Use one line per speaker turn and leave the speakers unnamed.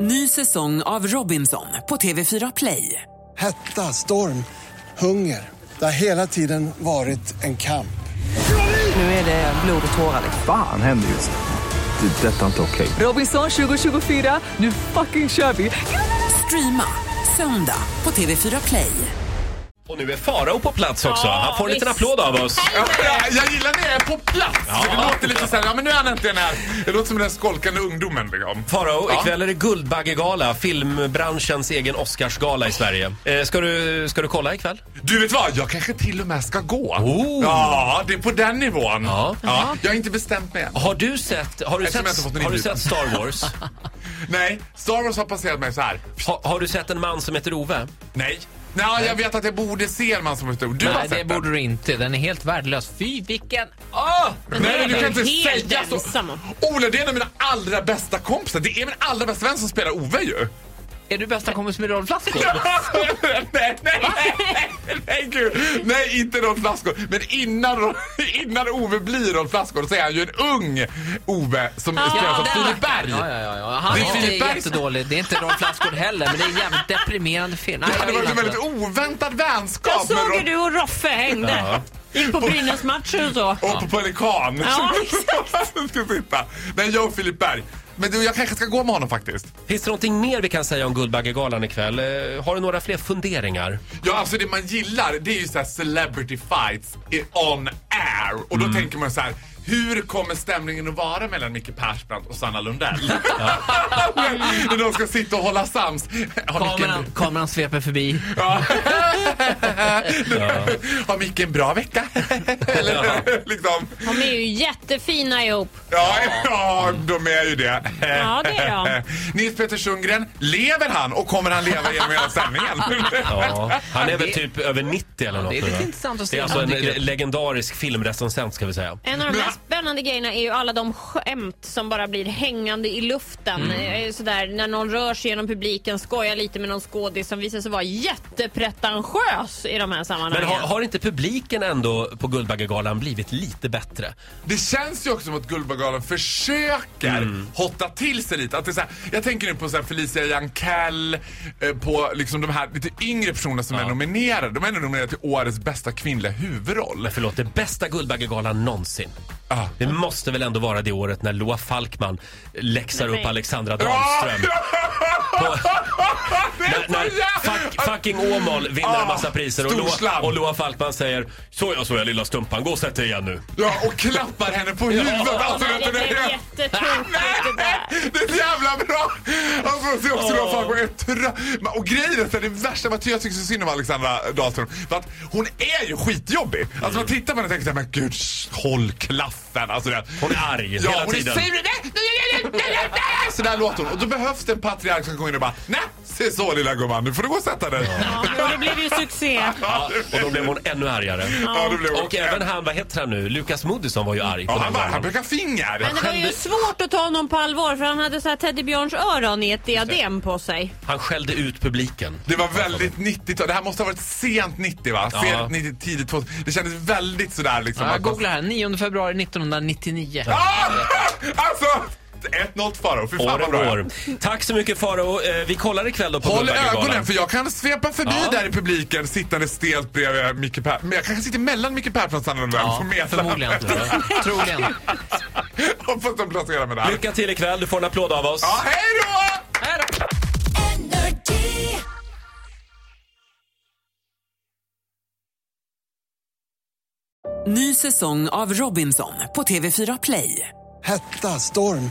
Ny säsong av Robinson på TV4 Play.
Hetta, storm, hunger. Det har hela tiden varit en kamp.
Nu är det blod och tårar.
Fan händer just nu. Det. är Detta är inte okej.
Robinson 2024, nu fucking kör vi! Streama söndag på TV4 Play.
Och nu är Farao på plats också. Han får en liten applåd av oss.
Ja, jag- jag gillar när jag är på plats. för det låter lite så här, ja men nu är han äntligen här. Det låter som den skolkande ungdomen. Liksom.
Farao,
Ja.
ikväll är det Guldbaggegala, filmbranschens egen Oscarsgala i Sverige. Eh, ska, du, ska du kolla ikväll?
Du vet vad, jag kanske till och med ska gå. Ja, det är på den nivån.
Ja.
Ja, jag har inte bestämt mig än.
Har du sett, har du
Eftersom jag inte fått
sett,
någon
har du
inbjudan.
sett Star Wars?
Nej, Star Wars har passerat mig så här.
Ha, har du sett en man som heter Ove?
Nej. Nej, jag vet att jag borde se en man som är stor. Du har
Nej,
sett
det
den.
borde du inte. Den är helt värdelös. Fy, vilken...
Nej, men du kan
Den
inte
är helt
säga så.
ensam.
Ola, det är en av mina allra bästa kompisar. Det är min allra bästa vän som spelar Ove ju.
Är du bästa kompis med Rolf Lassgård?
nej, nej, nej, nej, gud. nej, inte Rolf Lassgård. Men innan, innan Ove blir Rolf Lassgård så är han ju en ung Ove som spelas av
den
Filip Berg.
Ja, ja, ja, ja. Han
Det är
är
Filip
inte
Berg.
jättedålig. Det är inte Rolf Lassgård heller, men det är en jävligt deprimerande film. Nej,
Det liksom hade
jag
varit
gillar
en
inte
väldigt oväntad
Jag
vänskap
såg
med
hur
Rolf
du och Roffe hängde. Gick på Brynäs-matcher och så.
och på Pelikan.
Ja,
Som skulle sitta. Men jag och Filip Berg. Men du, jag kanske ska gå med honom faktiskt.
Finns det någonting mer vi kan säga om Guldbaggegalan ikväll? Eh, har du några fler funderingar?
Ja, alltså det man gillar det är ju så här celebrity fights i- on air. Och då tänker man så här. Hur kommer stämningen att vara mellan Micke Persbrandt och Sanna Lundell? När de ska sitta och hålla sams. Har
den.
Micke, en,
Kameran, kameran sveper förbi.
ja. Har Micke en bra vecka? Eller liksom...
de är ju jättefina ihop.
Ja, ja, de är ju det.
Ja, det är de.
Nils Petter Sundgren, lever han och kommer han leva genom hela sändningen?
Ja. Han är väl typ över 90 eller något
Det är
nu,
lite
va?
intressant att
Det
se.
är alltså
om
en
han dyker upp.
legendarisk filmrecensent ska vi säga.
En av de
Men-
mest spännande grejerna är ju alla de skämt som bara blir hängande i luften.
Mm.
Eh, Sådär, när någon rör sig genom publiken, skojar lite med någon skådis som visar sig vara jättepretentiös i de här
Men
sammanhangen.
har, har inte publiken ändå på Guldbaggegalan blivit lite bättre?
Det känns ju också som att Guldbaggegalan försöker
Mm.
hotta till sig lite. Att det är så här, jag tänker nu på så här Felicia Jankell, eh, på liksom de här lite yngre personerna som är nominerade. De är ändå nominerade till årets bästa kvinnliga huvudroll.
Men Eh, förlåt, det bästa Guldbaggegalan någonsin.
Ah.
Det måste väl ändå vara det året när Loa Falkman läxar
Nej,
upp
men-
Alexandra
Ja!
Dahlström. Eh,
Det är så
När
jävla-
fuck, fucking Åmål vinner
Ah,
en massa priser och
stor
Loa,
slam.
och Loa Falkman säger Såja, såja lilla stumpan, gå och sätt dig igen nu.
Ja, och klappar henne på huvudet. Alltså,
Nej,
vet du
det
det?
är jättetokigt det där.
Det är så jävla bra! Alltså, det är också oh. Falkman är trö- Och grejen är så här, det värsta med att jag tycker så synd om Alexandra Dahlström för att hon är ju skitjobbig. Alltså man tittar på henne och tänker så här, men gud, sh- håll klaffen. Alltså, det,
Hon är arg
ja,
hela
hon
tiden.
Är sur. Nej, nej, nej, nej, nej, nej. Så där låter hon. Och då behövs det en patriark som går in och bara, nej, se så lilla gumman, nu får du gå och sätta dig.
Ja, men det blev ju succé.
Ja, och då blev hon ännu argare.
Ja, det blev hon.
Och även han, vad heter han nu, Lukas Moodysson var ju arg på
Ja,
den
han bara, han
galan.
pekar finger.
Men det var ju svårt att ta honom på allvar för han hade så här teddybjörns öron i ett diadem på sig.
Han skällde ut publiken.
Det var väldigt 90-tal. Det här måste ha varit sent 90 va?
Ja.
Sent 90, tidigt 2000. Det kändes väldigt sådär liksom.
Ja,
att
jag
man-
googlar här. 9 februari 1999.
Ah! Alltså! 1-0 till Farao. Fy fan
År
vad
och
bra.
år. Tack så mycket Faro. Eh, Vi kollar ikväll då på
Håll
Guldbaggegalan.
ögonen för jag kan svepa förbi
Ja.
där i publiken sittande stelt bredvid Micke Persson. Men jag kanske sitter mellan Micke Persson och Sanna Lundell.
Ja,
Får meta.
förmodligen. Troligen.
Hoppas de placerar mig där.
Lycka till ikväll, du får en applåd av oss.
Ja, hej då!
Ny säsong av Robinson på TV4 Play.
Hetta, storm,